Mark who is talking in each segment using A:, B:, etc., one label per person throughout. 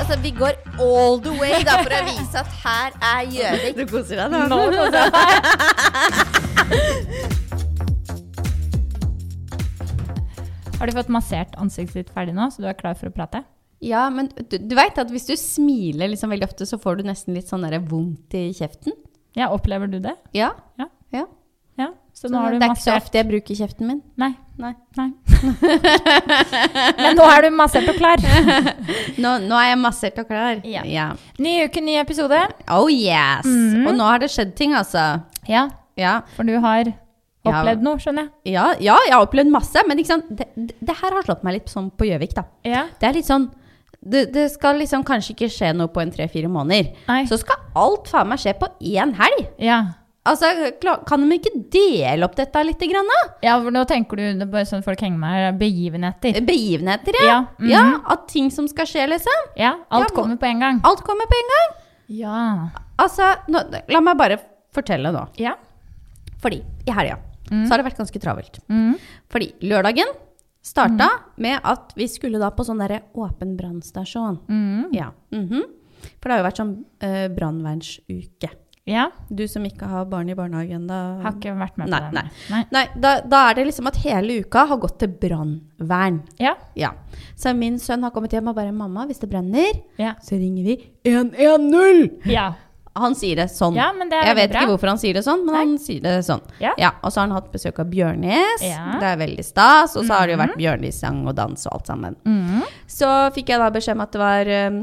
A: Altså, vi går all the way da, for å vise at her er Gjøvik.
B: Du koser deg nå.
C: Har du fått massert ansiktet ditt ferdig nå, så du er klar for å prate?
B: Ja, men du, du veit at hvis du smiler liksom veldig ofte, så får du nesten litt sånn der vondt i kjeften.
C: Ja, opplever du det?
B: Ja.
C: Ja.
B: ja.
C: Ja, så
B: Så
C: nå har du
B: det er ikke så
C: massert
B: ofte jeg bruker kjeften min.
C: Nei.
B: Nei.
C: Nei. Men nå er du massert og klar.
B: Nå, nå er jeg massert og klar.
C: Ja. Ny uke, ny episode.
B: Oh yes!
C: Mhm.
B: Og nå har det skjedd ting, altså.
C: Ja,
B: Ja.
C: for du har opplevd noe, skjønner jeg.
B: Ja, ja, jeg har opplevd masse, men ikke sant? Det, det, det her har slått meg litt sånn på Gjøvik, da.
C: Ja.
B: Det er litt sånn det, det skal liksom kanskje ikke skje noe på en tre-fire måneder.
C: Nei.
B: Så skal alt faen meg skje på én helg!
C: Ja.
B: Altså, kla- Kan de ikke dele opp dette litt? Grann, da?
C: ja, for nå tenker du det er bare sånn folk henger med her, begivenheter.
B: Begivenheter, ja.
C: Ja. mhm.
B: ja. At ting som skal skje, liksom.
C: ja
B: Ja,
C: alt
B: må-
C: kommer på en gang.
B: Alt kommer på en gang.
C: Ja.
B: Altså, nå, La meg bare fortelle nå.
C: Ja.
B: Fordi i helga så har det vært ganske travelt.
C: Mhm.
B: Fordi lørdagen starta med at vi skulle da på sånn derre åpen brannstasjon.
C: Mhm.
B: Ja. mhm. For det har jo vært sånn uh, brannvernsuke.
C: ja.
B: Du som ikke har barn i barnehagen, da
C: Har ikke vært med på
B: Nei,
C: den.
B: nei.
C: nei.
B: Nei, da, da er det liksom at hele uka har gått til brannvern.
C: Ja.
B: Ja. Så min sønn har kommet hjem og bare 'Mamma, hvis det brenner,
C: Ja.
B: så ringer vi 110!'
C: ja.
B: Han sier det sånn.
C: Ja, men det er
B: jeg vet
C: veldig bra.
B: ikke hvorfor han sier det sånn, men han sier det sånn.
C: Ja.
B: Og så har han hatt besøk av Bjørnis.
C: Ja.
B: Det er veldig stas. Og så har det jo vært Bjørnis-sang og dans og alt sammen.
C: Mhm.
B: Så fikk jeg da beskjed om at det var um,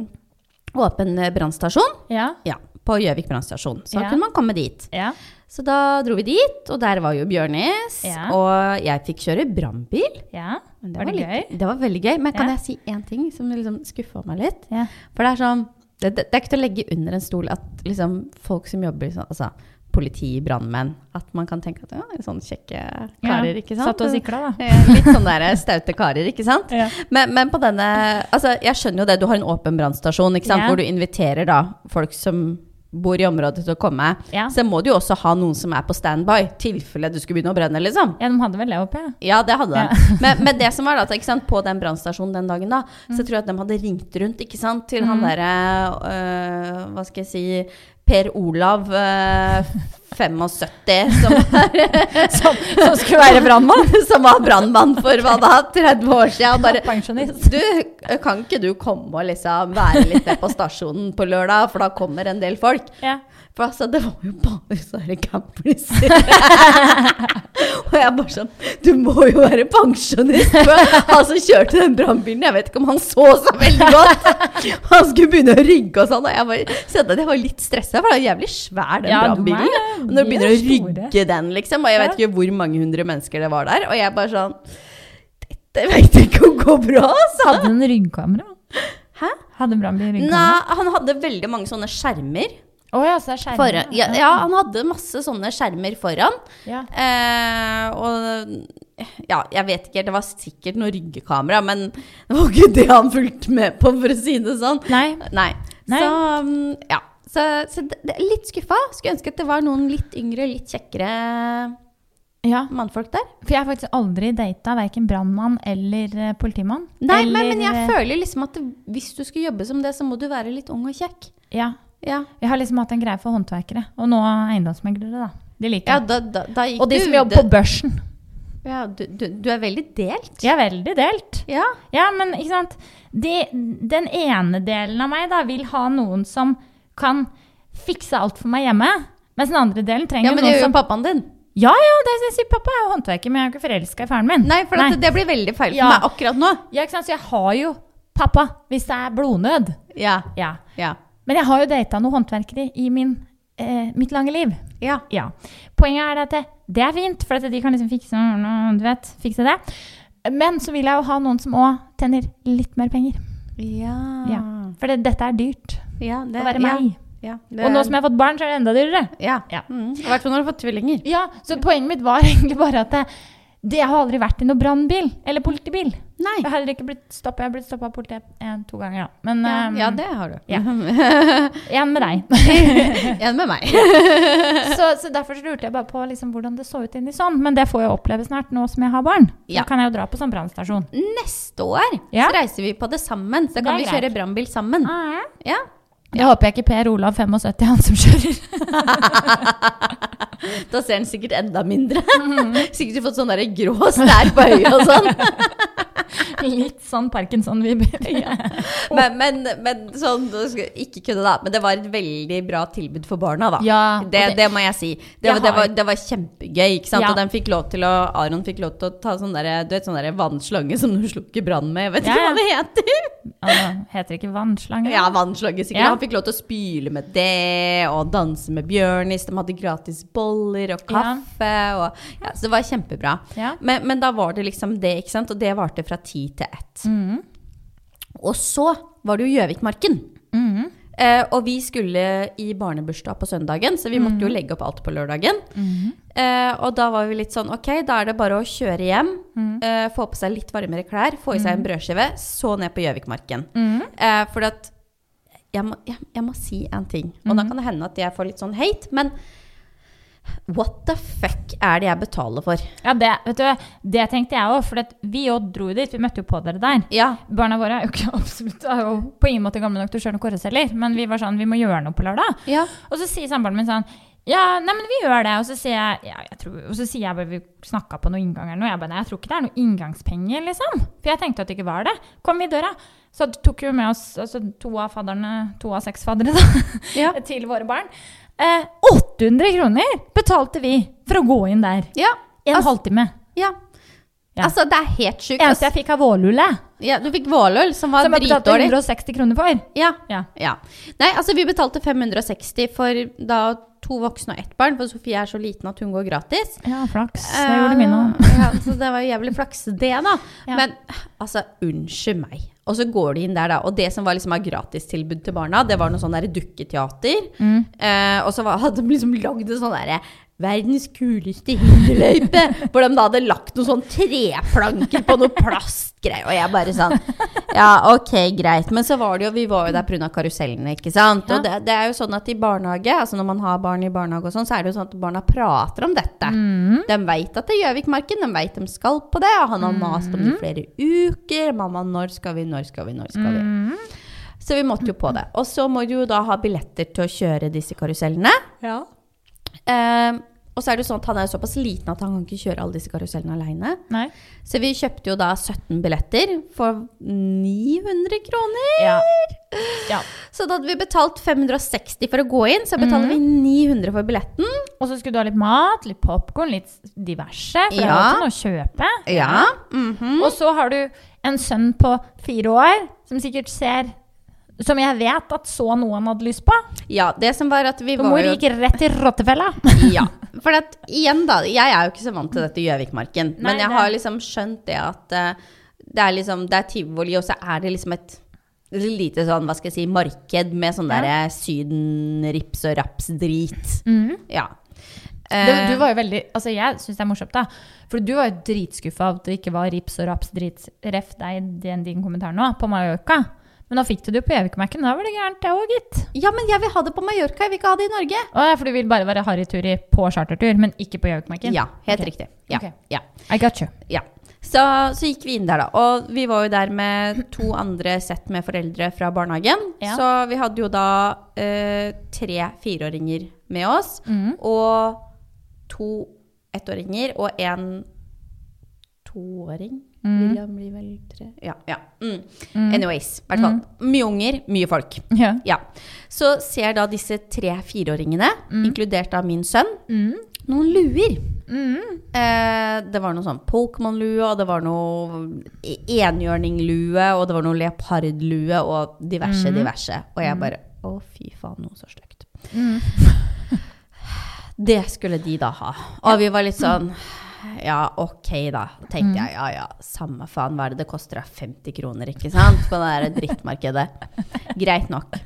B: åpen eh, brannstasjon.
C: Ja.
B: Ja, på Gjøvik brannstasjon. Så da
C: Ja.
B: kunne man komme dit.
C: Ja.
B: Så da dro vi dit, og der var jo Bjørnis.
C: Ja.
B: Og jeg fikk kjøre brannbil.
C: ja.
B: Men
C: Var det
B: litt-
C: gøy?
B: Det var veldig gøy. Men kan
C: Ja.
B: jeg si én ting som liksom skuffa meg litt?
C: Ja.
B: For det er sånn det, det, det er ikke til å legge under en stol at liksom, folk som jobber sånn Altså politi, brannmenn At man kan tenke at ja, det er sånne kjekke karer, ikke sant?
C: Satt og sikla, da.
B: Eh, Litt sånn der staute karer, ikke sant?
C: Ja.
B: Men, men på denne Altså, jeg skjønner jo det. Du har en åpen brannstasjon, ikke sant?
C: Ja.
B: Hvor du inviterer da folk som bor i området til å komme.
C: Ja.
B: Så må du jo også ha noen som er på standby, tilfelle du skulle begynne å brenne, liksom.
C: Ja, de hadde vel det oppe, ja.
B: Ja, det hadde de.
C: Ja.
B: men, men det som var da, at, ikke sant, på den brannstasjonen den dagen, da,
C: Mm.
B: så tror jeg at de hadde ringt rundt ikke sant, til han derre øh, Hva skal jeg si Per Olav øh, 75, som,
C: Som, som skulle være brannmann.
B: som var brannmann for hva da, 30 år siden. Og bare
C: Pensjonist.
B: du, kan ikke du komme og liksom være litt ned på stasjonen på lørdag, for da kommer en del folk?
C: Ja.
B: For altså, det var jo bare sånne campliser. og jeg bare sånn Du må jo være pensjonist! For han som kjørte den brannbilen, jeg vet ikke om han så så veldig godt! Han skulle begynne å rygge og sånn, og jeg bare kjente at jeg var litt stressa, for det er jævlig svær, den
C: Ja, de er-
B: brannbilen. Og Når du
C: de er
B: begynner å
C: store.
B: rygge den, liksom, og jeg vet
C: Ja.
B: ikke hvor mange hundre mennesker det var der, og jeg bare sånn Dette vet jeg ikke om går bra, altså!
C: Hadde en ryggkamera.
B: Hæ?
C: Hadde brannbil ryggkamera?
B: Nei, han hadde veldig mange sånne skjermer.
C: Å ja, så er skjermen
B: Foran, ja, ja, han hadde masse sånne skjermer foran.
C: Ja.
B: Eh, og ja, jeg vet ikke, det var sikkert noe ryggekamera, men det var ikke det han fulgte med på, for å si det sånn.
C: Nei.
B: Nei.
C: Nei.
B: Så mm, ja. Så, så det, det, er litt skuffa. Skulle ønske at det var noen litt yngre, litt kjekkere
C: Ja,
B: mannfolk der.
C: for jeg har faktisk aldri data verken brannmann eller eh, politimann.
B: Nei,
C: eller,
B: men, men jeg
C: eh,
B: føler liksom at det, hvis du skal jobbe som det, så må du være litt ung og kjekk.
C: Ja.
B: Ja,
C: Jeg har liksom hatt en greie for håndverkere, og nå eiendomsmeglere, da. De liker
B: ja
C: jeg.
B: da, da, da gikk
C: Og de
B: du
C: som jobber på børsen.
B: ja, du, du, du er veldig delt.
C: Jeg er veldig delt.
B: Ja.
C: Ja, men ikke sant De, Den ene delen av meg da vil ha noen som kan fikse alt for meg hjemme. Mens den andre delen trenger
B: ja, men det
C: noen
B: gjør jo
C: som
B: pappaen din.
C: Ja, ja, det jeg sier pappa er jo håndverker, men jeg er jo ikke forelska i faren min.
B: Nei, for at det blir veldig feil for
C: Ja.
B: meg akkurat nå.
C: Ja, ikke sant? Så jeg har jo pappa hvis det er blodnød.
B: Ja,
C: Ja.
B: ja,
C: Men jeg har jo data noen håndverkere i min, eh, mitt lange liv.
B: ja.
C: Ja. Poenget er det at det, det er fint, for at de kan liksom fikse, du vet, fikse det. Men så vil jeg jo ha noen som òg tjener litt mer penger.
B: Ja,
C: Ja. For det, dette er dyrt
B: Ja, det,
C: å være meg.
B: Ja, ja,
C: Og nå som jeg har fått barn, så er det enda dyrere.
B: Ja,
C: Ja.
B: Mm, i hvert fall når du har fått tvillinger.
C: Ja, Så poenget mitt var egentlig bare at det, det har aldri vært i noen brannbil eller politibil.
B: Nei.
C: Jeg har heller ikke blitt stoppa. Jeg har blitt stoppa av politiet en, to ganger, da. Men
B: Ja,
C: eh,
B: ja, det har du.
C: ja. en med deg.
B: En med meg.
C: så, så derfor så lurte jeg bare på liksom, hvordan det så ut inni sånn. Men det får jeg oppleve snart, nå som jeg har barn.
B: Ja.
C: Da kan jeg jo dra på sånn brannstasjon.
B: Neste år
C: Ja.
B: så reiser vi på det sammen. Så da kan
C: Det
B: vi
C: er Ah.
B: kjøre brannbil sammen. Ja.
C: Jeg håper jeg ikke Per Olav 75 han som kjører.
B: Da ser den sikkert enda mindre. Sikkert fått sånn der grå stær på øyet og sånn.
C: Litt sånn Parkinson-vibber.
B: Men, men, men sånn, du skal ikke kunne da. Men det var et veldig bra tilbud for barna, da.
C: Ja, og
B: det, det,
C: det-
B: må jeg si. Det,
C: Jeg
B: var- det,
C: har-
B: var, det var kjempegøy. ikke sant?
C: Ja.
B: Og den fikk lov til å, Aron fikk lov til å ta sånn der, du vet, sånn der vannslange som du slukker brann med. Jeg vet
C: Ja,
B: ikke
C: ja.
B: hva det heter.
C: Han heter ikke vannslange?
B: Ja, vannslange sikkert.
C: Ja.
B: Han fikk lov til å spyle med det, og danse med Bjørnis. De hadde gratis boller og
C: Ja.
B: kaffe. Og, ja, så det var kjempebra.
C: Ja.
B: Men, men da var det liksom det, ikke sant? og det varte fra ti til ett.
C: Mhm.
B: Og så var det jo Gjøvikmarken.
C: Mhm.
B: Eh, og vi skulle i barnebursdag på søndagen, så vi måtte jo legge opp alt på lørdagen. Eh, og da var vi litt sånn ok, da er det bare å kjøre hjem,
C: Mhm.
B: eh, få på seg litt varmere klær, få i seg en brødskive, så ned på Gjøvikmarken.
C: Mhm.
B: Eh, for at jeg må, jeg, jeg må si en ting, og da kan det hende at jeg får litt sånn hate, men what the fuck er det jeg betaler for?
C: Ja, det, vet du, det tenkte jeg òg, for at vi òg dro jo dit. Vi møtte jo på dere der.
B: Ja,
C: Barna våre er jo ikke absolutt er jo på ingen måte gamle nok til å kjøre noe kåres heller, men vi var sånn, vi må gjøre noe på lørdag.
B: ja.
C: Og så sier samboeren min sånn ja, nei, men vi gjør det. Og så sier jeg ja, jeg tror, og så sier jeg bare, vi snakka på noe inngang eller noe. Jeg bare nei, jeg tror ikke det er noe inngangspenger, liksom. For jeg tenkte at det ikke var det. Kom i døra. Så tok jo med oss altså, to av fadderne, to av seks faddere, da,
B: Ja.
C: til våre barn. Eh, 800 kroner betalte vi for å gå inn der.
B: ja.
C: En
B: Altså-
C: halvtime.
B: Ja.
C: Ja.
B: Altså, det er helt sjukt.
C: Eneste jeg fikk av vårlulle,
B: Ja, du fikk våløl, som var
C: som jeg betalte
B: dritdårlig.
C: 160 kroner for.
B: Ja,
C: Ja.
B: ja. Nei, altså, vi betalte 560 for da to voksne og ett barn, for Sofie er så liten at hun går gratis.
C: Ja, flaks. Jeg gjorde mine òg.
B: Eh, ja, så det var jævlig flaks, det, da.
C: Ja.
B: Men altså, unnskyld meg. Og så går de inn der, da. Og det som var liksom av gratistilbud til barna, det var noe sånn der dukketeater.
C: Mm.
B: Eh, og så var, hadde de liksom lagd en sånn derre Verdens kuleste hinderløype! Hvor de da hadde lagt noen sånn treplanker på noe plastgreier. Og jeg bare sånn Ja, ok, greit. Men så var det jo Vi var jo der pga. karusellene, ikke sant. Og det, det er jo sånn at i barnehage, altså når man har barn i barnehage og sånn, så er det jo sånn at barna prater om dette.
C: Mm.
B: De veit at det er Gjøvikmarken, de veit de skal på det. Og han har mast om det i flere uker. 'Mamma, når skal vi, når skal vi, når skal vi?' Så vi måtte jo på det. Og så må du jo da ha billetter til å kjøre disse karusellene. Eh, og så er det jo sånn at han er jo såpass liten at han kan ikke kjøre alle disse karusellene aleine.
C: Nei.
B: Så vi kjøpte jo da 17 billetter for 900 kroner.
C: Ja. ja.
B: Så da hadde vi betalt 560 for å gå inn, så betaler vi 900 for billetten.
C: Og så skulle du ha litt mat, litt popkorn, litt diverse. For det er
B: Ja.
C: jo ikke noe å kjøpe.
B: Ja. mhm.
C: Og så har du en sønn på fire år som sikkert ser Som jeg vet at så noe han hadde lyst på.
B: ja. Det som var at vi
C: For
B: var
C: mor
B: jo
C: gikk rett i rottefella.
B: Ja. For at, igjen, da. Jeg er jo ikke så vant til dette Gjøvikmarken.
C: Nei,
B: Men jeg
C: det-
B: har liksom skjønt det at eh, det er liksom Det er tivoli, og så er det liksom et lite sånn, hva skal jeg si, marked med sånn
C: Ja.
B: derre sydenrips og rapsdrit.
C: Mm.
B: Ja.
C: Det,
B: Eh,
C: du var jo veldig, altså jeg syns det er morsomt, da. For du var jo dritskuffa av at det ikke var rips og raps drit, ref deg, den din kommentar nå, på Mallorca. Men nå fikk du det jo på Gjøvikmerken. Da var det gærent, det òg, gitt.
B: Ja, men jeg vil ha det på Mallorca, jeg vil ikke ha det i Norge.
C: Å, ja, for du vil bare være harrytur i- på chartertur, men ikke på Gjøvikmarken?
B: Ja, helt
C: Ok.
B: riktig. Ja,
C: Ok.
B: ja,
C: I got you.
B: ja. Så, så gikk vi inn der, da. Og vi var jo der med to andre sett med foreldre fra barnehagen.
C: Ja.
B: Så vi hadde jo da eh, tre fireåringer med oss.
C: Mm,
B: Og to ettåringer og en toåring.
C: mm,
B: William blir vel tre Ja. ja. Mm. Anyways. I hvert fall. Mye unger, mye folk.
C: Ja.
B: Ja. Så ser da disse tre fireåringene, inkludert av min sønn, noen luer. Eh, det var noe sånn Pokémon-lue, og det var noe e- enhjørninglue, og det var noe leopardlue, og diverse, diverse. Og jeg bare Å, fy faen, noe så stygt.
C: Mm.
B: det skulle de da ha. Og vi var litt sånn ja, ok da, tenkte jeg. Ja, ja, samme faen, hva er det det koster? da? 50 kroner, ikke sant? På det der drittmarkedet. Greit nok.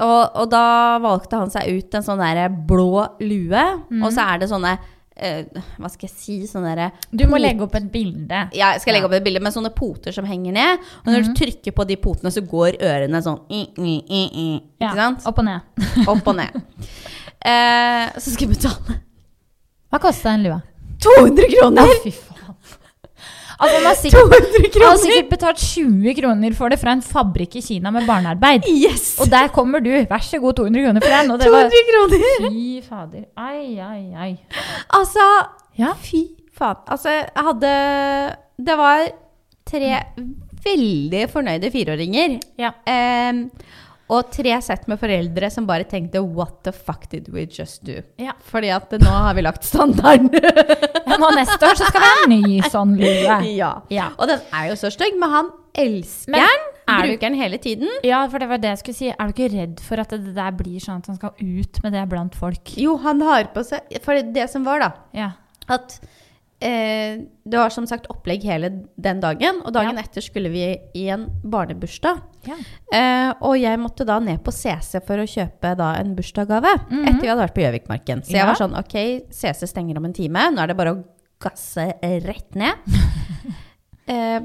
B: Og, og da valgte han seg ut en sånn der blå lue, og så er det sånne eh, Hva skal jeg si? Sånne derre
C: Du må legge opp et bilde.
B: ja, jeg skal legge opp et bilde med sånne poter som henger ned. Og når du trykker på de potene, så går ørene sånn i, i, i, i,
C: Ja,
B: Ikke sant?
C: Opp og ned.
B: Opp og ned. Eh, så skal jeg betale
C: Hva kosta en lue?
B: 200
C: Å,
B: kroner!
C: fy faen. Altså, han har sikkert,
B: 200
C: han har
B: kroner!
C: sikkert betalt 20 kroner for det fra en fabrikk i Kina med barnearbeid.
B: Yes!
C: Og der kommer du. Vær så god, 200 kroner for den. Og det var
B: 200 kroner!
C: Fy fader. Ai, ai, ai.
B: Altså,
C: Ja.
B: fy faen. Altså, jeg hadde Det var tre veldig fornøyde fireåringer.
C: Ja.
B: Eh, og tre sett med foreldre som bare tenkte What the fuck did we just do?
C: Ja.
B: Fordi at nå har vi lagt standarden.
C: Ja, Nå neste år så skal vi ha en ny sånn lue.
B: ja.
C: Ja.
B: Og den er jo så stygg, men han elsker
C: Men
B: den.
C: er du-
B: Bruker den hele tiden.
C: ja, for det var det jeg skulle si. Er du ikke redd for at det der blir sånn at han skal ut med det blant folk?
B: Jo, han har på seg For det som var, da,
C: Ja.
B: at eh, det var som sagt opplegg hele den dagen. Og dagen
C: Ja.
B: etter skulle vi i en barnebursdag.
C: Ja.
B: Eh, og jeg måtte da ned på CC for å kjøpe da en bursdagsgave. Etter vi hadde vært på Gjøvikmarken. Så jeg
C: Mhm. Ja.
B: var sånn ok, CC stenger om en time. Nå er det bare å gasse rett ned. eh,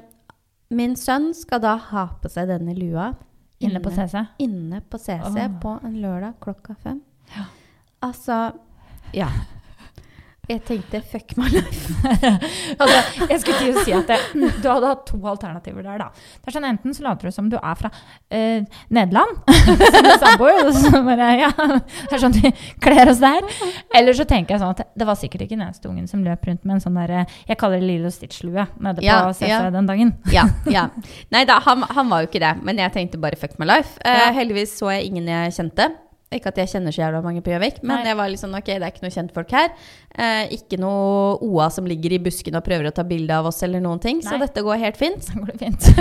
B: min sønn skal da ha på seg denne lua
C: Inne på CC.
B: inne på CC
C: Åh.
B: på en lørdag klokka fem. Altså Ja. Jeg tenkte fuck my life.
C: Altså, jeg skulle til å si at det, du hadde hatt to alternativer der, da. Det er sånn, Enten så later du som du er fra eh, Nederland, som er samboer, og så bare ja, det er sånn vi kler oss der. Eller så tenker jeg sånn at det var sikkert ikke den eneste ungen som løp rundt med en sånn derre Jeg kaller det Lilo Stitch-lue nede på
B: Ja,
C: CC
B: ja.
C: den dagen.
B: Ja, ja. Nei da, han, han var jo ikke det, men jeg tenkte bare fuck my life. Eh,
C: Ja.
B: heldigvis så jeg ingen jeg kjente. Ikke at jeg kjenner så jævla mange på Gjøvik, men
C: Nei.
B: jeg var litt sånn ok, det er ikke noe kjentfolk her. Eh, ikke noe OA som ligger i busken og prøver å ta bilde av oss eller noen ting, så
C: Nei.
B: dette går helt fint.
C: Så går det fint.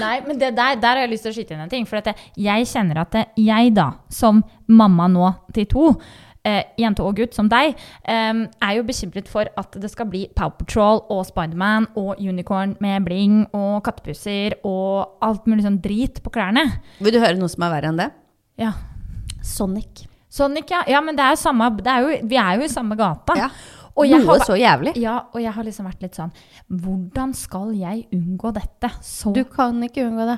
C: Nei, men det der, der har jeg lyst til å skyte inn en ting. For at jeg- jeg kjenner at det- jeg, da, som mamma nå til to, eh, jente og gutt som deg, eh, er jo bekymret for at det skal bli Pow Patrol og Spiderman og unicorn med bling og kattepusser og alt mulig sånn drit på klærne.
B: Vil du høre noe som er verre enn det?
C: Ja.
B: Sonic.
C: Sonic, Sånn ja. ja men det er jo samme det er jo, Vi er jo i samme gata.
B: Ja.
C: Og jeg
B: noe
C: har,
B: så jævlig.
C: ja, og jeg har liksom vært litt sånn Hvordan skal jeg unngå dette så
B: Du kan ikke unngå det.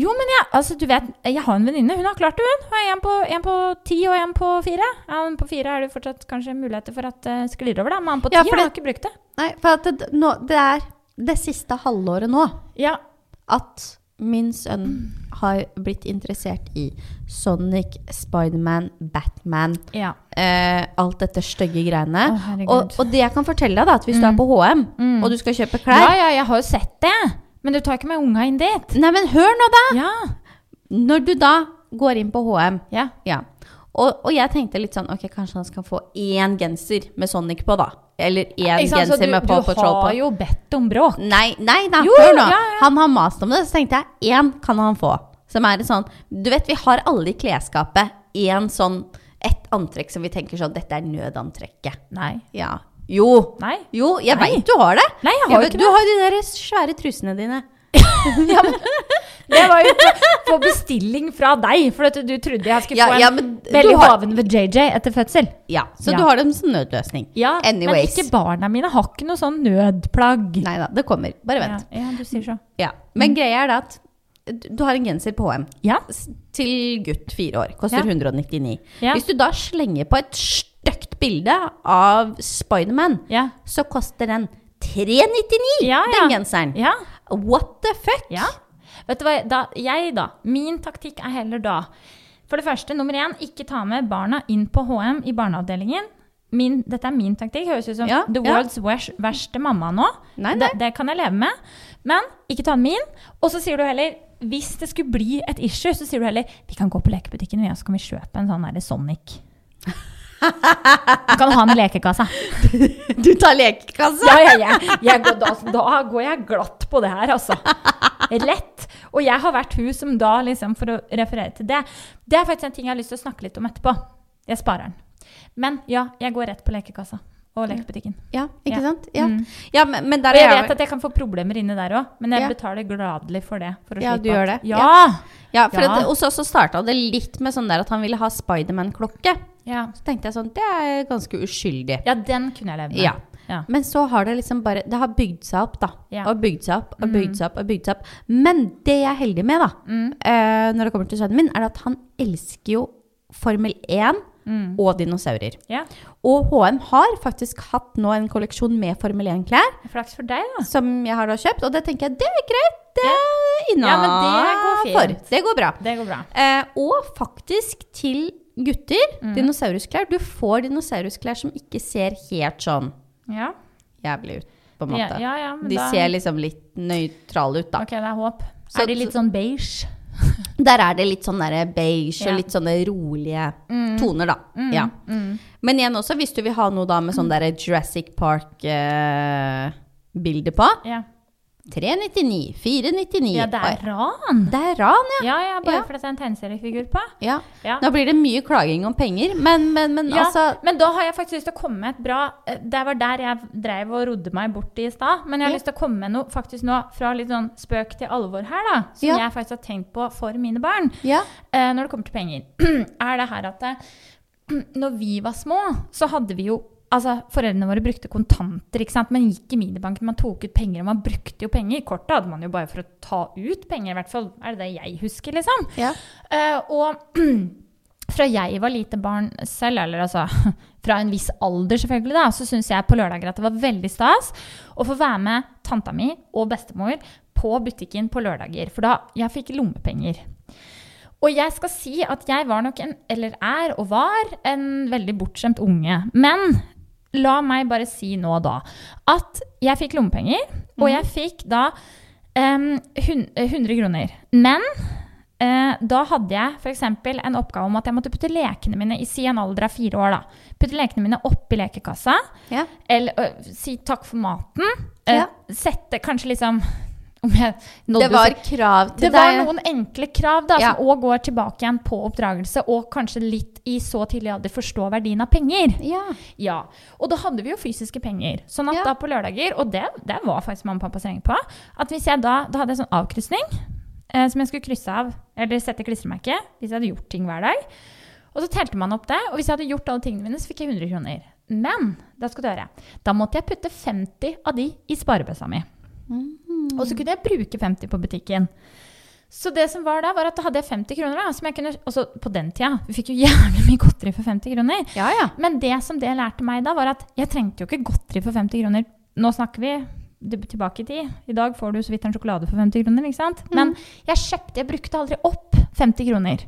C: Jo, men jeg, altså, du vet, jeg har en venninne. Hun har klart det, hun. Hun har en på, en på ti og en på fire. Ja, men på fire er det fortsatt kanskje muligheter for at det sklir over, da. Men han på ti
B: Ja, for
C: han
B: det-
C: har ikke brukt det.
B: Nei, for at det, nå, det er det siste halvåret nå
C: Ja.
B: at min sønn har blitt interessert i Sonic, Spiderman, Batman,
C: ja. Eh,
B: eh, alt dette stygge greiene.
C: Å, herregud. Mm.
B: og, og det jeg kan fortelle deg, da, at hvis du er på HM og du skal kjøpe
C: ja,
B: klær
C: ja, jeg har jo sett det. Men du tar ikke med unga inn dit.
B: Nei, men hør nå, da!
C: Ja.
B: Når du da går inn på HM
C: Ja.
B: Ja. Og, og jeg tenkte litt sånn Ok, kanskje han skal få én genser med Sonic på, da. Eller én
C: Ikke sant, så
B: genser
C: du,
B: med Paw
C: du
B: Patrol på.
C: har jo bedt om bråk.
B: Nei, nei, nei,
C: Jo,
B: hør nå.
C: ja, ja.
B: Han har mast om det, så tenkte jeg én kan han få. Som er en sånn Du vet, vi har alle i klesskapet én sånn Et antrekk som vi tenker sånn Dette er nødantrekket.
C: Nei.
B: Ja. Jo.
C: Nei.
B: Jo, jeg
C: Nei.
B: veit du har det.
C: Nei, jeg har jo
B: vet-
C: ikke
B: Du
C: det.
B: har jo de der svære trusene dine.
C: Det var jo på, på bestilling fra deg, for at du trodde jeg skulle
B: Ja,
C: få en
B: ja, men du
C: veldig
B: har-
C: hoven ved JJ etter fødsel.
B: Ja, Så
C: Ja.
B: du har dem som nødløsning.
C: Ja, men
B: Anyways.
C: ikke barna mine har ikke noe sånn nødplagg.
B: Nei da, det kommer. Bare vent.
C: Ja, ja, du sier så.
B: Ja. Men greia er da at du har en genser på HM.
C: Ja.
B: s- til gutt fire år. Koster
C: Ja.
B: 199.
C: Ja.
B: Hvis du da slenger på et stygt bilde av Spiderman,
C: Ja.
B: så koster den 399,
C: Ja, Ah, ja.
B: den genseren.
C: Ja.
B: What the fuck?
C: ja. Vet du hva, da, jeg da, min taktikk er heller da For det første, nummer én, ikke ta med barna inn på HM i barneavdelingen. Min, dette er min taktikk. Høres ut som
B: Ja, ja.
C: the world's wers- verste mamma nå.
B: Nei, nei.
C: Det, det kan jeg leve med. Men ikke ta med min. Og så sier du heller hvis det skulle bli et issue, så sier du heller vi kan gå på lekebutikken vi, og så kan vi kjøpe en sånn der Sonic. Du kan ha den i lekekassa.
B: Du tar lekekassa?
C: Ja, ja, ja. Jeg går, da, altså, da går jeg glatt på det her, altså. Rett. Og jeg har vært hun som da, liksom, for å referere til det Det er faktisk en ting jeg har lyst til å snakke litt om etterpå. Jeg sparer den. Men ja, jeg går rett på lekekassa og lekebutikken.
B: Ja, ikke
C: Ja.
B: sant? Ja,
C: Mm.
B: ja men, men der
C: Og jeg
B: er
C: vet at jeg kan få problemer inne der òg, men jeg
B: Ja.
C: betaler gladelig for det. For å
B: Ja,
C: slippe
B: du gjør
C: at-
B: det.
C: Ja!
B: ja, for
C: Ja.
B: At, Og så, så starta det litt med sånn der at han ville ha Spiderman-klokke.
C: Ja.
B: Så tenkte jeg sånn, det er ganske uskyldig.
C: ja, den kunne jeg levd med.
B: Ja.
C: Ja.
B: Men så har det liksom bare Det har bygd seg opp, da.
C: Ja. Mm.
B: Og bygd seg opp og bygd seg opp. og bygd seg opp. Men det jeg er heldig med, da,
C: Mm,
B: eh, når det kommer til sønnen min, er at han elsker jo Formel 1
C: mm.
B: og dinosaurer.
C: Ja.
B: Og HM har faktisk hatt nå en kolleksjon med Formel 1-klær,
C: Flaks for deg, da.
B: som jeg har da kjøpt, og det tenker jeg det er greit. Det er
C: Ah. Ja, men det går
B: innafor.
C: fint.
B: det går bra.
C: Det går bra.
B: Eh, og faktisk til gutter,
C: Mm.
B: dinosaurusklær. Du får dinosaurusklær som ikke ser helt sånn
C: Ja,
B: jævlig ut, på en
C: ja,
B: måte.
C: ja, ja men
B: De
C: da
B: ser liksom litt nøytrale ut, da.
C: Ok, det er håp.
B: Så-
C: er de litt sånn beige?
B: Der er det litt sånn der beige
C: Ja. Mm.
B: og litt sånne rolige toner, da. Ja. Men igjen også, hvis du vil ha noe da med sånn der Jurassic Park-bilde på
C: Ja.
B: 399, 499
C: ja, det er ran!
B: Oi, Det er ran, ja.
C: Ja, ja, bare
B: Ja.
C: fordi det er en tegneseriefigur på.
B: ja.
C: Ja.
B: Nå blir det mye klaging om penger, men, men, men
C: Ja,
B: altså
C: men da har jeg faktisk lyst til å komme med et bra eh, Det var der jeg dreiv og rodde meg bort i stad. Men jeg har
B: Ja.
C: lyst til å komme med noe faktisk nå fra litt sånn spøk til alvor her, da. Som
B: Ja.
C: jeg faktisk har tenkt på for mine barn.
B: Ja.
C: Eh, når det kommer til penger, er det her at eh, når vi var små, så hadde vi jo Altså, Foreldrene våre brukte kontanter, ikke sant? men gikk i minibanken. Man tok ut penger, og man brukte jo penger. Kortet hadde man jo bare for å ta ut penger, i hvert fall er det det jeg husker. liksom.
B: Ja.
C: Eh, og fra jeg var lite barn selv, eller altså fra en viss alder selvfølgelig, da, så syns jeg på lørdager at det var veldig stas å få være med tanta mi og bestemor på butikken på lørdager. For da jeg fikk lommepenger. Og jeg skal si at jeg var nok en, eller er og var, en veldig bortskjemt unge. Men la meg bare si nå da at jeg fikk lommepenger, og
B: Mhm.
C: jeg fikk da em, hun- 100 kroner. Men eh, da hadde jeg f.eks. en oppgave om at jeg måtte putte lekene mine i si en alder av fire år, da. Putte lekene mine oppi lekekassa.
B: Ja.
C: Eller ø, si takk for maten. eh,
B: Ja.
C: Sette kanskje liksom om jeg nådde
B: Det var krav
C: det
B: til
C: var
B: deg.
C: noen enkle krav da,
B: Ja.
C: som òg går tilbake igjen på oppdragelse, og kanskje litt i så tidlig alder forstå verdien av penger.
B: Ja.
C: Ja, Og da hadde vi jo fysiske penger. Sånn at
B: Ja.
C: da på lørdager, og det, det var faktisk mamma og pappa strenge på, at hvis jeg da, da hadde jeg sånn avkrysning eh, som jeg skulle krysse av, eller sette klistremerke, hvis jeg hadde gjort ting hver dag. Og så telte man opp det, og hvis jeg hadde gjort alle tingene mine, så fikk jeg 100 kroner. Men da skal du høre, da måtte jeg putte 50 av de i sparebøssa mi.
B: Mm.
C: Og så kunne jeg bruke 50 på butikken. Så det som var da, var at da hadde jeg 50 kroner. da, som jeg kunne, også på den tida, vi fikk jo gjerne mye godteri for 50 kroner.
B: Ja, ja.
C: Men det som det lærte meg da, var at jeg trengte jo ikke godteri for 50 kroner. Nå snakker vi det- tilbake i tid. I dag får du så vidt en sjokolade for 50 kroner. ikke sant? Men jeg kjøpte, jeg brukte aldri opp 50 kroner.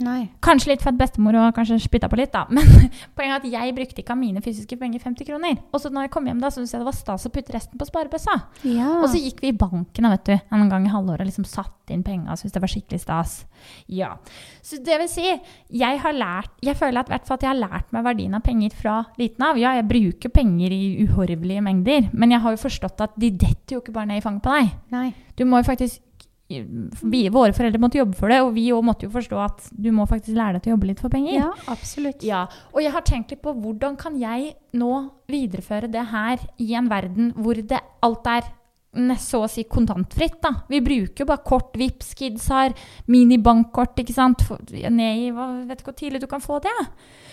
B: Nei.
C: Kanskje litt for at bestemor og kanskje spytta på litt, da. Men poenget er at jeg brukte ikke av mine fysiske penger 50 kroner. Og så når jeg kom hjem da, så syntes jeg det var stas å putte resten på sparebøssa.
B: Ja.
C: Og så gikk vi i banken da, vet du, en gang i halvåret og liksom satt inn penger og syntes det var skikkelig stas. Ja. Så det vil si, jeg har lært, jeg føler at, i hvert fall at jeg har lært meg verdien av penger fra liten av. Ja, jeg bruker penger i uhorvelige mengder, men jeg har jo forstått at de detter jo ikke bare ned i fanget på deg.
B: Nei.
C: Du må jo faktisk vi, Våre foreldre måtte jobbe for det, og vi òg måtte jo forstå at du må faktisk lære deg til å jobbe litt for penger.
B: Ja, absolutt.
C: Ja, og jeg har tenkt litt på hvordan kan jeg nå videreføre det her i en verden hvor det alt er nest så å si kontantfritt, da. Vi bruker jo bare kort, Vipps, kids har minibankkort, ikke sant. For- Ned i hva, vet ikke hvor tidlig du kan få det.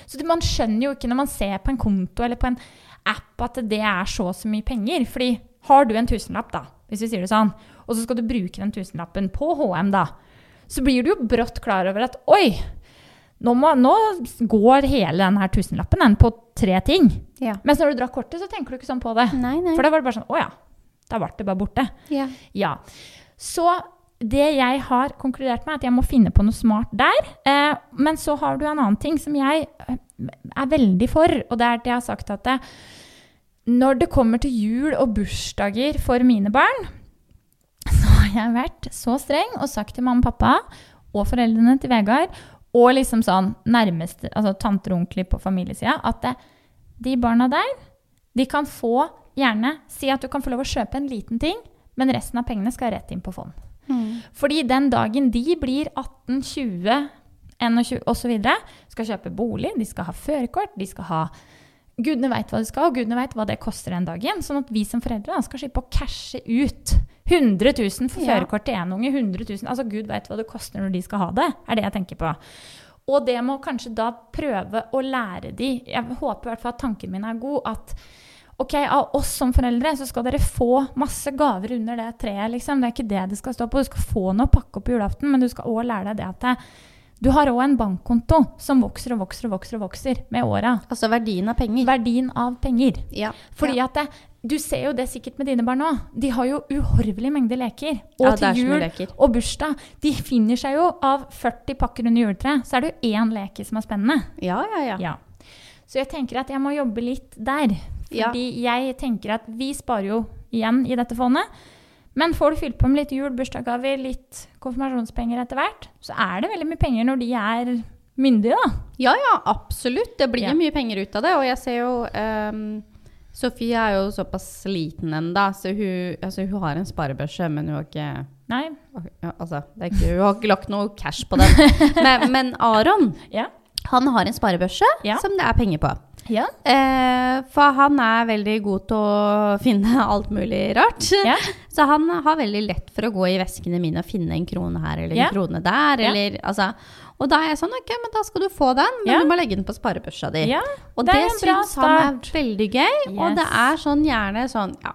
C: Så det, man skjønner jo ikke når man ser på en konto eller på en app at det er så og så mye penger. Fordi har du en tusenlapp, da, hvis vi sier det sånn, og så skal du bruke den tusenlappen på HM, da, så blir du jo brått klar over at oi, nå, må, nå går hele den her tusenlappen den, på tre ting.
B: Ja.
C: Mens når du drar kortet, så tenker du ikke sånn på det.
B: Nei, nei.
C: For da var det bare sånn Å ja. Da ble det bare borte.
B: Ja.
C: Ja. Så det jeg har konkludert med, er at jeg må finne på noe smart der. Eh, men så har du en annen ting som jeg eh, er veldig for, og det er det jeg har sagt at det, når det kommer til jul og bursdager for mine barn, så har jeg vært så streng og sagt til mamma og pappa og foreldrene til Vegard og liksom sånn nærmeste, altså tanter og onkler på familiesida, at det, de barna der, de kan få gjerne si at du kan få lov å kjøpe en liten ting, men resten av pengene skal rett inn på fond.
B: Mm.
C: Fordi den dagen de blir 18, 20, 21 osv., skal kjøpe bolig, de skal ha førerkort, de skal ha Gudene veit hva de skal, og gudene veit hva det koster den dagen. Sånn at vi som foreldre da, skal slippe å cashe ut 100 000 for
B: Ja.
C: førerkort til én unge. 100 000. Altså, Gud veit hva det koster når de skal ha det, er det jeg tenker på. Og det må kanskje da prøve å lære de Jeg håper i hvert fall at tanken min er god. At ok, av oss som foreldre så skal dere få masse gaver under det treet. liksom. Det er ikke det det skal stå på. Du skal få noe å pakke opp i julaften, men du skal òg lære deg det at det, du har òg en bankkonto som vokser og vokser og vokser og vokser med åra.
B: Altså verdien av penger.
C: Verdien av penger.
B: Ja.
C: Fordi at det, du ser jo det sikkert med dine barn òg. De har jo uhorvelige mengder leker. Og
B: Ja, det er så
C: til
B: mye
C: jul
B: leker.
C: og bursdag. De finner seg jo av 40 pakker under juletreet, så er det jo én leke som er spennende.
B: Ja, ja, ja.
C: Ja. Så jeg tenker at jeg må jobbe litt der.
B: Ja.
C: Fordi jeg tenker at vi sparer jo igjen i dette fondet. Men får du fylt på med litt jul, bursdagsgaver, litt konfirmasjonspenger etter hvert, så er det veldig mye penger når de er myndige, da.
B: Ja, ja, absolutt. Det blir
C: Ja.
B: mye penger ut av det. Og jeg ser jo ehm, Sofie er jo såpass liten ennå, så hun, altså, hun har en sparebørse, men hun har ikke
C: Nei.
B: ja, Altså, det er ikke, hun har ikke lagt noe cash på den. Men, men Aron,
C: Ja.
B: han har en sparebørse
C: Ja.
B: som det er penger på.
C: Ja.
B: Eh, for han er veldig god til å finne alt mulig rart.
C: Ja.
B: Så han har veldig lett for å gå i veskene mine og finne en krone her eller
C: Ja.
B: en krone der.
C: Ja.
B: Eller, altså. Og da er jeg sånn Ok, men da skal du få den, men
C: Ja.
B: du må legge den på sparebørsa di.
C: ja.
B: Og
C: det
B: det,
C: er en bra
B: syns han er
C: start.
B: veldig gøy.
C: Yes.
B: Og det er sånn gjerne sånn ja,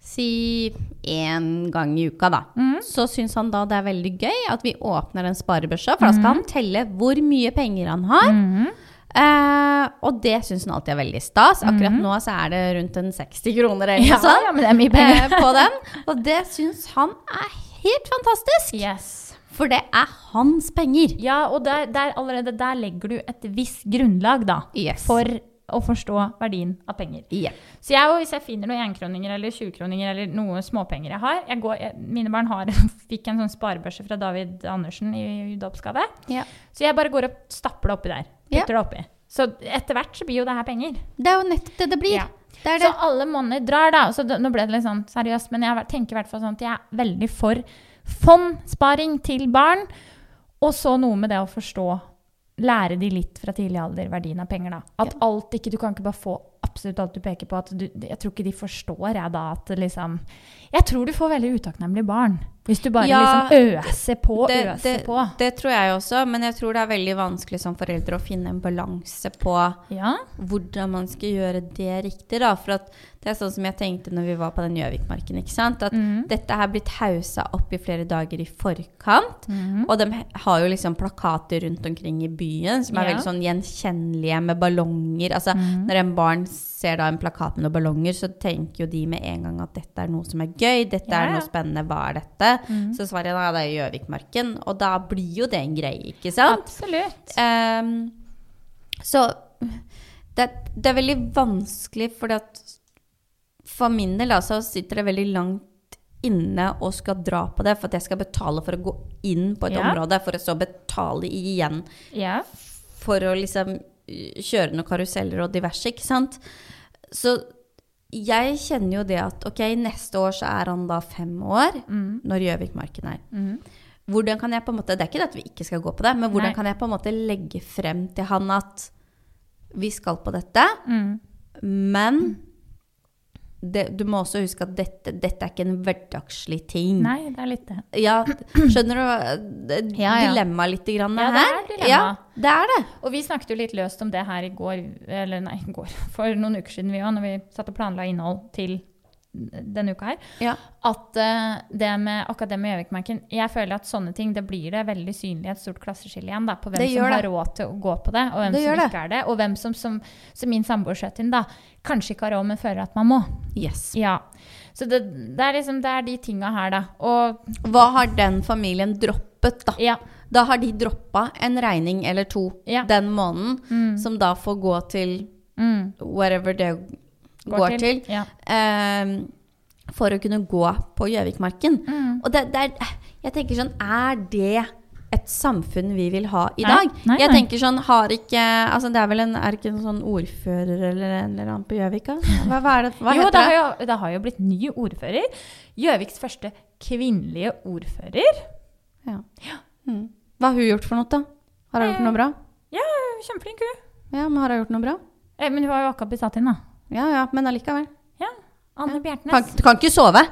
B: Si én gang i uka, da.
C: Mm.
B: Så syns han da det er veldig gøy at vi åpner den sparebørsa, for da
C: Mm.
B: skal han telle hvor mye penger han har.
C: Mhm.
B: Eh, og det syns hun alltid er veldig stas. Akkurat nå så er det rundt en 60 kroner eller
C: Mm. Ja,
B: noe sånt
C: ja, men det er mye penger.
B: eh, på den. Og det syns han er helt fantastisk,
C: Yes.
B: for det er hans penger.
C: Ja, og der, der, allerede der legger du et visst grunnlag, da.
B: Yes.
C: For å forstå verdien av penger. Så jeg, og hvis jeg finner noen enkroninger eller 20-kroninger eller noe småpenger jeg har jeg går, jeg, Mine barn har, fikk en sånn sparebørse fra David Andersen i, i dåpsgave.
B: Ja.
C: Så jeg bare går og stapper det oppi der.
B: Ja.
C: Putter det oppi. Så etter hvert så blir jo det her penger.
B: Det er jo nettopp det det blir.
C: Ja.
B: Det er
C: Så
B: det.
C: alle måneder drar, da. Så det, nå ble det litt sånn seriøst, men jeg har vært- tenker i hvert fall sånn at jeg er veldig for fondsparing til barn. Og så noe med det å forstå, lære de litt fra tidlig alder verdien av penger, da. At alt ikke, du kan ikke bare få absolutt alt du peker på. At du, jeg tror ikke de forstår, jeg da, at liksom Jeg tror du får veldig utakknemlige barn. Hvis du bare
B: Ja,
C: liksom øser på, øser på.
B: det tror jeg også, men jeg tror det er veldig vanskelig som foreldre å finne en balanse på
C: Ja.
B: hvordan man skal gjøre det riktig. Da. For at det er sånn som jeg tenkte når vi var på den Gjøvikmarken. ikke sant? At
C: Mm.
B: dette her blitt hausa opp i flere dager i forkant.
C: Mm.
B: Og de he- har jo liksom plakater rundt omkring i byen som er
C: Ja.
B: veldig sånn gjenkjennelige med ballonger. Altså
C: Mm.
B: Når en barn ser da en plakat med noen ballonger, så tenker jo de med en gang at dette er noe som er gøy, dette
C: Ja,
B: er
C: ja.
B: noe spennende, hva er dette?
C: Mm.
B: Så svarer jeg da, det er Gjøvikmarken. Og da blir jo det en greie, ikke sant?
C: Absolutt.
B: Ehm, så det, det er veldig vanskelig, fordi at for min del da, så sitter det veldig langt inne og skal dra på det, for at jeg skal betale for å gå inn på et
C: Ja.
B: område, for å så betale igjen
C: Ja.
B: for å liksom eh, kjøre noen karuseller og diverse, ikke sant? Så jeg kjenner jo det at ok, neste år så er han da fem år,
C: Mm.
B: når Gjøvikmarken er. Hvordan kan jeg på en måte, Det er ikke det at vi ikke skal gå på det, men hvordan
C: Nei.
B: kan jeg på en måte legge frem til han at vi skal på dette,
C: Mm.
B: men det, du må også huske at dette, dette er ikke en hverdagslig ting.
C: Nei, det er litt det.
B: Ja, skjønner du eh,
C: Ja, ja.
B: dilemmaet litt grann
C: Ja, det
B: her?
C: er dilemma.
B: Ja, det er det.
C: Og vi snakket jo litt løst om det her i går, eller nei, i går, for noen uker siden vi òg, når vi satt og planla innhold til denne uka her,
B: Ja.
C: at eh, det med akkurat det med Gjøvikmarken Jeg føler at sånne ting, det blir det veldig synlig et stort klasseskille igjen, da, på hvem
B: Det
C: som
B: gjør
C: har
B: det.
C: råd til å gå på det, og hvem
B: Det
C: som
B: gjør det.
C: ikke er det, og hvem som, som, som min samboer skjøt inn, da, kanskje ikke har råd, men føler at man må.
B: Yes.
C: Ja. Så det, det er liksom det er de tinga her, da. Og
B: Hva har den familien droppet, da?
C: ja.
B: Da har de droppa en regning eller to
C: Ja.
B: den måneden, som da får gå til
C: Mm,
B: whatever det går, til,
C: Ja.
B: ehm, for å kunne gå på Gjøvikmarken.
C: Mm.
B: Og det, det er, jeg tenker sånn, er det et samfunn vi vil ha i
C: Nei,
B: dag?
C: nei,
B: jeg
C: nei.
B: tenker sånn, har ikke altså Det er vel en, er det ikke en sånn ordfører eller en eller annen på Gjøvika? Hva, hva, er det- hva
C: jo,
B: heter
C: det har
B: det?
C: jo, det har jo blitt ny ordfører. Gjøviks første kvinnelige ordfører.
B: Ja. Mm. Hva har hun gjort for noe, da? Har hun gjort
C: Eh.
B: noe bra?
C: Ja, kjempeflink hun.
B: Ja, men har hun gjort noe bra?
C: Eh, Men hun har jo akkurat blitt satt inn, da.
B: Ja, ja, men allikevel.
C: Ja, Anne Bjertnæs.
B: Kan, kan ikke sove.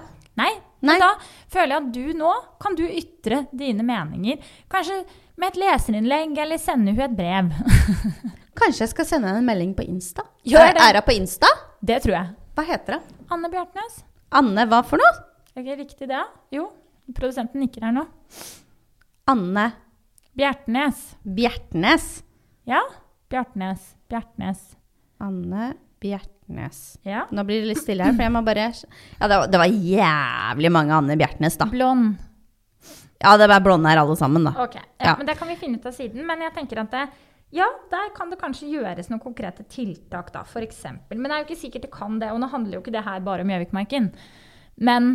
C: Nei,
B: Nei.
C: Men da føler jeg at du nå kan du ytre dine meninger. Kanskje med et leserinnlegg, eller sende hun et brev.
B: Kanskje jeg skal sende henne en melding på Insta?
C: Gjør
B: Er-
C: det.
B: Er hun på Insta?
C: Det tror jeg.
B: Hva heter hun?
C: Anne Bjartnæs.
B: Anne hva for noe?
C: Er det ikke riktig det? Jo, produsenten nikker her nå.
B: Anne
C: Bjertnæs.
B: Bjertnæs.
C: Ja, Bjartnæs. Bjertnæs.
B: Anne Bjertnæs.
C: Ja.
B: Nå blir det litt stille her, for jeg må bare Ja, det var, det var jævlig mange Anne Bjertnæs, da.
C: Blond.
B: Ja, det var blonde her alle sammen, da.
C: Ok, ja,
B: Ja.
C: men Det kan vi finne ut av siden. Men jeg tenker at det, ja, der kan det kanskje gjøres noen konkrete tiltak, da, f.eks. Men det er jo ikke sikkert det kan det. Og nå handler jo ikke det her bare om Gjøvikmarken. Men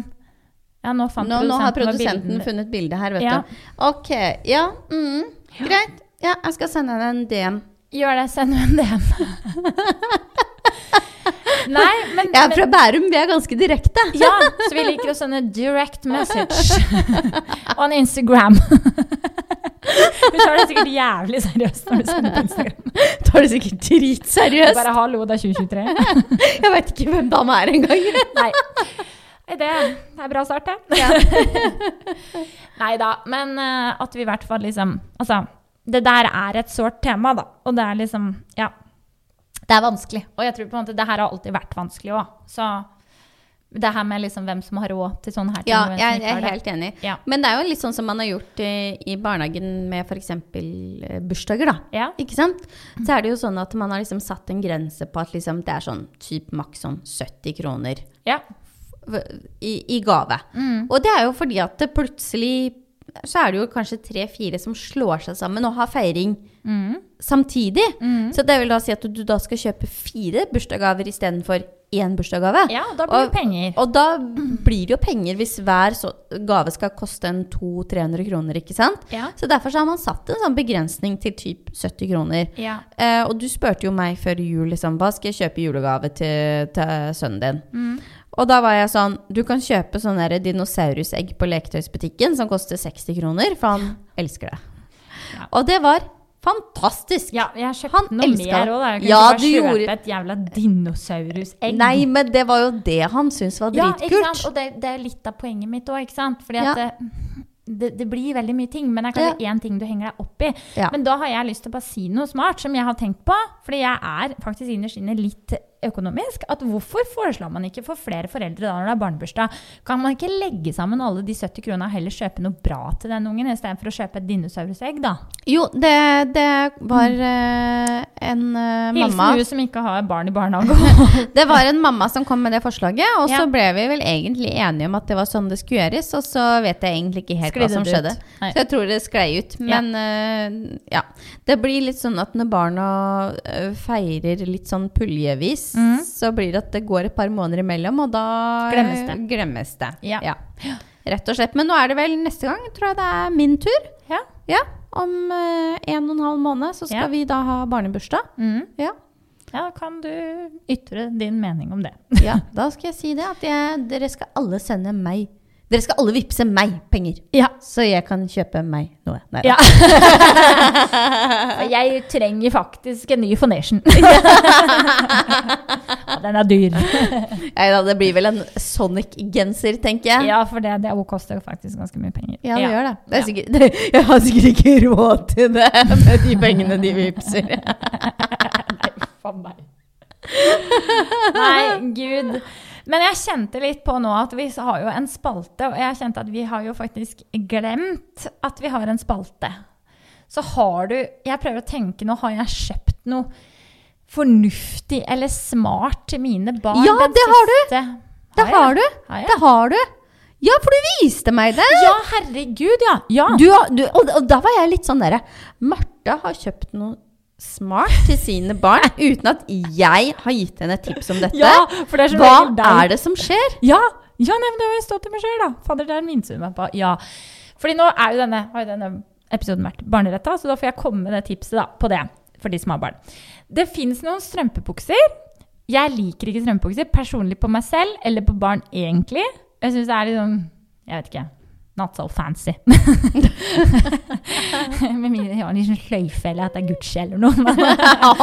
C: ja, nå fant
B: Nå, nå har
C: produsenten
B: produsenten
C: bilden.
B: funnet bildet her, vet du.
C: Ja.
B: Ok, ja, mm, greit. Ja, jeg skal sende henne en DM.
C: Gjør det, send henne en DM. Nei, men,
B: Jeg er
C: men
B: fra Bærum, vi er ganske direkte.
C: Ja, så vi liker å sende direct message on Instagram. Hun tar det sikkert jævlig seriøst når du sender på Instagram.
B: Tar det sikkert dritseriøst.
C: Bare hallo, det er 2023.
B: Jeg vet ikke hvem dama er engang.
C: Nei. Nei, Det er bra start, det. Nei da, men eh, at vi i hvert fall liksom Altså, det der er et sårt tema, da. Og det er liksom Ja. Det er vanskelig. Og jeg tror på en måte det her har alltid vært vanskelig òg. Så det her med liksom hvem som har råd til sånne her ting.
B: Ja,
C: og hvem som
B: jeg,
C: ikke
B: jeg
C: har
B: er
C: det.
B: helt enig.
C: Ja.
B: Men det er jo litt sånn som man har gjort eh, i barnehagen med f.eks. bursdager, da.
C: Ja.
B: Ikke sant? Så er det jo sånn at man har liksom satt en grense på at liksom det er sånn typ maks sånn 70 kroner
C: ja.
B: v- i, i gave.
C: mm,
B: Og det er jo fordi at det plutselig så er det jo kanskje tre-fire som slår seg sammen og har feiring
C: mm,
B: samtidig. Så det vil da si at du da skal kjøpe fire bursdagsgaver istedenfor én bursdagsgave.
C: Ja, og da blir det penger.
B: Og da blir det jo penger hvis hver så, gave skal koste en 200-300 kroner, ikke sant?
C: Ja.
B: Så derfor så har man satt en sånn begrensning til typ 70 kroner.
C: Ja.
B: Eh, og du spurte jo meg før jul liksom, hva skal jeg kjøpe i julegave til, til sønnen din.
C: Mm.
B: Og da var jeg sånn, du kan kjøpe sånne der dinosaurusegg på leketøysbutikken som koster 60 kroner, for han elsker det.
C: Ja.
B: Og det var fantastisk.
C: Ja, jeg kjøpte
B: Han
C: noe
B: elsker
C: mer
B: det.
C: òg, da. Jeg kan
B: Ja,
C: ikke
B: du
C: bare kjøpe
B: gjorde-
C: et jævla dinosaurusegg.
B: Nei, men det var jo det han syntes var
C: ja,
B: dritkult.
C: ikke sant? Og det, det er litt av poenget mitt òg, ikke sant. Fordi at
B: Ja.
C: det, det, det blir veldig mye ting, men det er kanskje én ting du henger deg opp i.
B: Ja.
C: Men da har jeg lyst til å bare si noe smart som jeg har tenkt på. Fordi jeg er faktisk innerst inne litt økonomisk. At hvorfor foreslår man ikke for flere foreldre da når det er barnebursdag? Kan man ikke legge sammen alle de 70 kronene og heller kjøpe noe bra til den ungen, istedenfor å kjøpe et dinosaurusegg, da?
B: Jo, det, det var eh, en eh, mamma
C: Mm. Hilsen hun som ikke har barn i barnehage.
B: Det var en mamma som kom med det forslaget, og så
C: Ja.
B: ble vi vel egentlig enige om at det var sånn det skulle gjøres, og så vet jeg egentlig ikke helt
C: Sklidde
B: hva som
C: det ut.
B: skjedde.
C: Nei.
B: Så jeg tror det sklei ut. Men eh, ja. Det blir litt sånn at når barna eh, feirer litt sånn puljevis,
C: Mhm.
B: så blir det at det går et par måneder imellom, og da eh,
C: Glemmes det.
B: glemmes det.
C: Ja.
B: Rett og slett. Men nå er det vel neste gang, tror jeg det er min tur.
C: ja.
B: Ja. Om eh, en og en halv måned så skal
C: Ja.
B: vi da ha barnebursdag.
C: Mm.
B: Ja.
C: Ja, kan du ytre din mening om det?
B: Ja, da skal jeg si det. At jeg, dere skal alle sende meg Dere skal alle vippse meg penger.
C: Ja.
B: Så jeg kan kjøpe meg noe. Nei,
C: Ja. Jeg trenger faktisk en ny fonation. ja, den er dyr.
B: da. Nei da, det blir vel en Sonic-genser, tenker jeg.
C: Ja, for det, det koster faktisk ganske mye penger.
B: Ja, det gjør det. det
C: Ja.
B: er sikkert, det, jeg har sikkert ikke råd til det med de pengene de vippser.
C: Faen meg. Nei, gud. Men jeg kjente litt på nå at vi har jo en spalte, og jeg kjente at vi har jo faktisk glemt at vi har en spalte. Så har du Jeg prøver å tenke nå, har jeg kjøpt noe fornuftig eller smart til mine barn?
B: Ja, det har du. Det har du.
C: Har jeg?
B: Det har du. Ja, for du viste meg det.
C: Ja, herregud, ja. ja.
B: Du, har- du, og, og da var jeg litt sånn derre Marte har kjøpt noe smart til sine barn uten at jeg har gitt henne et tips om dette.
C: Ja, for det er som
B: Hva
C: regel deg.
B: er det som skjer?
C: Ja, ja nei, men det har jeg stått til meg sjøl, da. Fader, der minnet du meg på. Ja. Fordi nå er jo denne, har jo denne episoden vært barneretta, så da får jeg komme med det tipset da, på det for de som har barn. Det fins noen strømpebukser. Jeg liker ikke strømpebukser personlig på meg selv eller på barn egentlig. liksom, Jeg syns det er litt sånn Jeg vet ikke. Not so fancy. Med mindre de har en liten sløyfe eller at det er Gucci eller noe.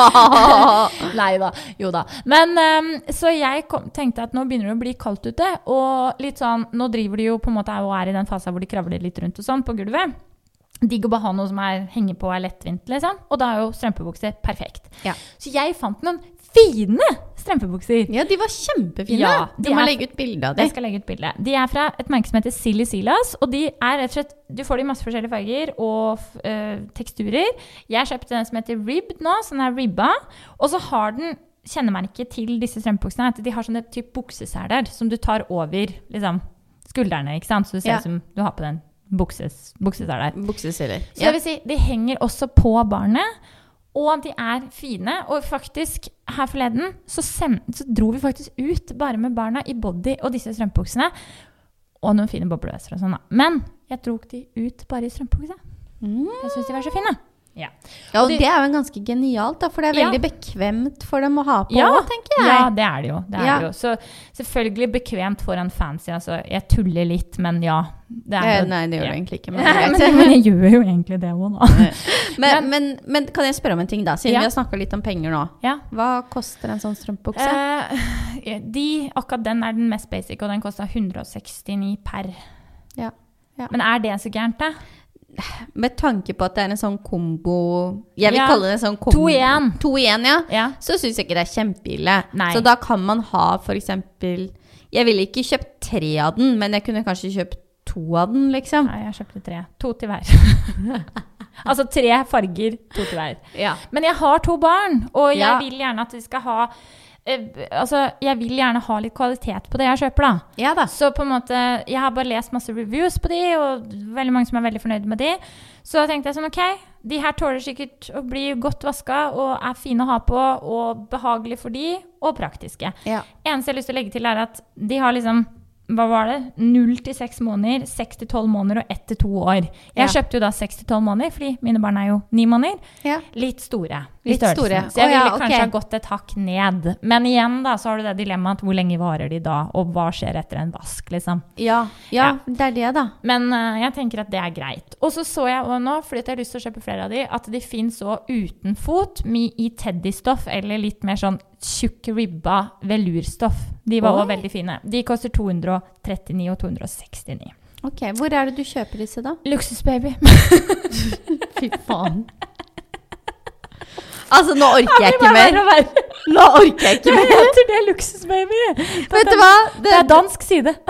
C: Nei da. Jo da. Men ehm, så jeg kom, tenkte at nå begynner det å bli kaldt ute. Og litt sånn, nå driver de jo på en måte og er i den fasen hvor de kravler litt rundt og sånn på gulvet. Digg å bare ha noe som er, henger på er lettvint, liksom. Og da er jo strømpebukser perfekt.
B: Ja.
C: Så jeg fant noen fine strømpebukser.
B: Ja, de var kjempefine.
C: Ja,
B: du
C: de
B: må
C: er-
B: legge ut bilde av
C: Jeg
B: det.
C: skal legge ut bilde. De er fra et merke som heter Silly Silas. Og de er rett og slett Du får de i masse forskjellige farger og f- eh, teksturer. Jeg kjøpte den som heter Ribbed nå, så den er ribba. Og så har den kjennemerket til disse strømpebuksene er at de har sånne type bukseseler som du tar over liksom, skuldrene, ikke sant? så du ser
B: Ja.
C: ut som du har på den bukses, bukseseler.
B: Bukseseler.
C: Så det vil si, de henger også på barnet, og de er fine. Og faktisk, her forleden, så, send, så dro vi faktisk ut bare med barna i body og disse strømpebuksene. Og noen fine bobleveser og sånn, da. Men jeg dro de ut bare i strømpebukse.
B: Mm.
C: Jeg syns de var så fine. Ja.
B: Ja, og
C: de-
B: det er jo en ganske genialt, da, for det er
C: Ja.
B: veldig bekvemt for dem å ha på
C: Ja.
B: også, tenker jeg.
C: ja, det er det jo. Det er
B: Ja.
C: det jo. Så selvfølgelig bekvemt foran fancy. Altså, jeg tuller litt, men ja. Det er
B: Eh,
C: jo-
B: Nei, det gjør
C: ja.
B: det egentlig ikke. Men, det er
C: Men,
B: greit.
C: men jeg gjør jo egentlig det òg, da.
B: men, men, men kan jeg spørre om en ting, da? Siden
C: Ja.
B: vi har snakka litt om penger nå.
C: Ja.
B: Hva koster en sånn strømpebukse?
C: Eh, de, akkurat den er den mest basic, og den kosta 169 per.
B: Ja, ja.
C: Men er det så gærent, da?
B: Med tanke på at det er en sånn kombo Jeg vil
C: Eh. Ja.
B: kalle det en sånn kombo.
C: To i en.
B: To i en, ja.
C: Ja.
B: Så syns jeg ikke det er kjempeille.
C: Nei.
B: Så da kan man ha f.eks. Jeg ville ikke kjøpt tre av den, men jeg kunne kanskje kjøpt to av den, liksom.
C: Nei, jeg kjøpte tre. To til hver. altså tre farger, to til hver.
B: Ja.
C: Men jeg har to barn, og jeg
B: Ja.
C: vil gjerne at de skal ha eh, Altså, jeg vil gjerne ha litt kvalitet på det jeg kjøper, da.
B: ja da.
C: Så på en måte, jeg har bare lest masse reviews på de, og veldig mange som er veldig fornøyd med de. Så tenkte jeg sånn, ok, de her tåler sikkert å bli godt vasket, og er fine å ha på, og behagelige for de, og praktiske.
B: Ja.
C: Eneste jeg har lyst til å legge til er at de har liksom, hva var det? 0 til 6 måneder, 6 til 12 måneder og 1 til 2 år. Jeg
B: Ja.
C: kjøpte jo da 6 til 12 måneder, fordi mine barn er jo 9 måneder.
B: Ja.
C: Litt store. i
B: Litt
C: størrelsen.
B: store.
C: Så jeg
B: Å ja,
C: ville kanskje
B: ok.
C: ha gått et hakk ned. Men igjen da, så har du det dilemmaet hvor lenge varer de da, og hva skjer etter en vask, liksom.
B: Ja, ja, det er det, da.
C: Men eh, jeg tenker at det er greit. Og så så jeg også nå, fordi at jeg har lyst til å kjøpe flere av de, at de fins òg uten fot, mi- i teddystoff eller litt mer sånn tjukk ribba velurstoff. De var
B: Oi.
C: òg veldig fine. De koster 239 og 269.
B: Ok, Hvor er det du kjøper disse, da?
C: Luksusbaby.
B: Fy faen. Altså, nå orker jeg ikke
C: Bare
B: mer.
C: verre og verre.
B: Nå orker jeg ikke
C: Jeg
B: mer.
C: heter det luksusbaby. Det er
B: Vet du
C: dan-
B: hva?
C: Det er dansk side.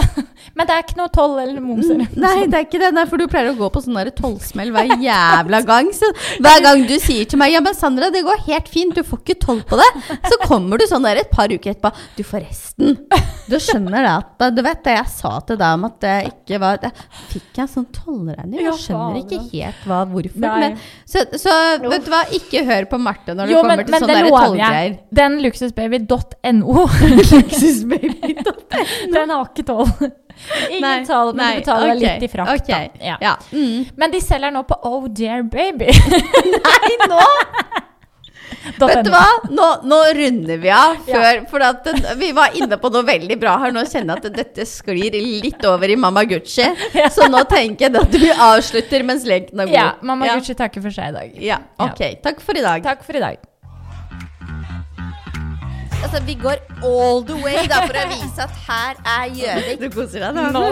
C: Men det er ikke noe toll eller moms. eller noe
B: Mm, Nei, det er ikke det. Nei, for du pleier å gå på sånn der tolvsmell hver jævla gang. Så hver gang du sier til meg Ja, men Sandra, det går helt fint, du får ikke tolv på det. Så kommer du sånn der et par uker etterpå. Du, forresten. Du skjønner det at Du vet det jeg sa til deg om at det ikke var det, Fikk jeg sånn tolvregning?
C: Ja,
B: Jeg skjønner ikke
C: faen,
B: helt hva, hvorfor.
C: Nei.
B: Men, så, så vet du hva, ikke hør på Marte når det
C: Jo,
B: kommer
C: men,
B: til sånn
C: men
B: sånne
C: det
B: der
C: lover jeg.
B: tolvgreier.
C: Den luksusbaby.no. Den har ikke toll. Ingen
B: Nei,
C: toll, men
B: nei,
C: du betaler
B: ok,
C: litt i frakt.
B: ok,
C: Da. Ja.
B: Ja. Mm.
C: Men de selger nå på Oh Dear Baby.
B: Nei, nå Vet du hva? Nå, nå runder vi av. Før, For at den, vi var inne på noe veldig bra her. Nå kjenner jeg at dette sklir litt over i Mamma Gucci. Så nå tenker jeg at vi avslutter mens leken er god.
C: Ja, Mamma
B: ja.
C: Gucci takker for seg i dag.
B: Ja, ok. Takk for i dag.
C: Takk for i dag.
A: Altså, vi går all the way da for å vise at her er Gjøvik.
B: Du koser deg
C: Nå,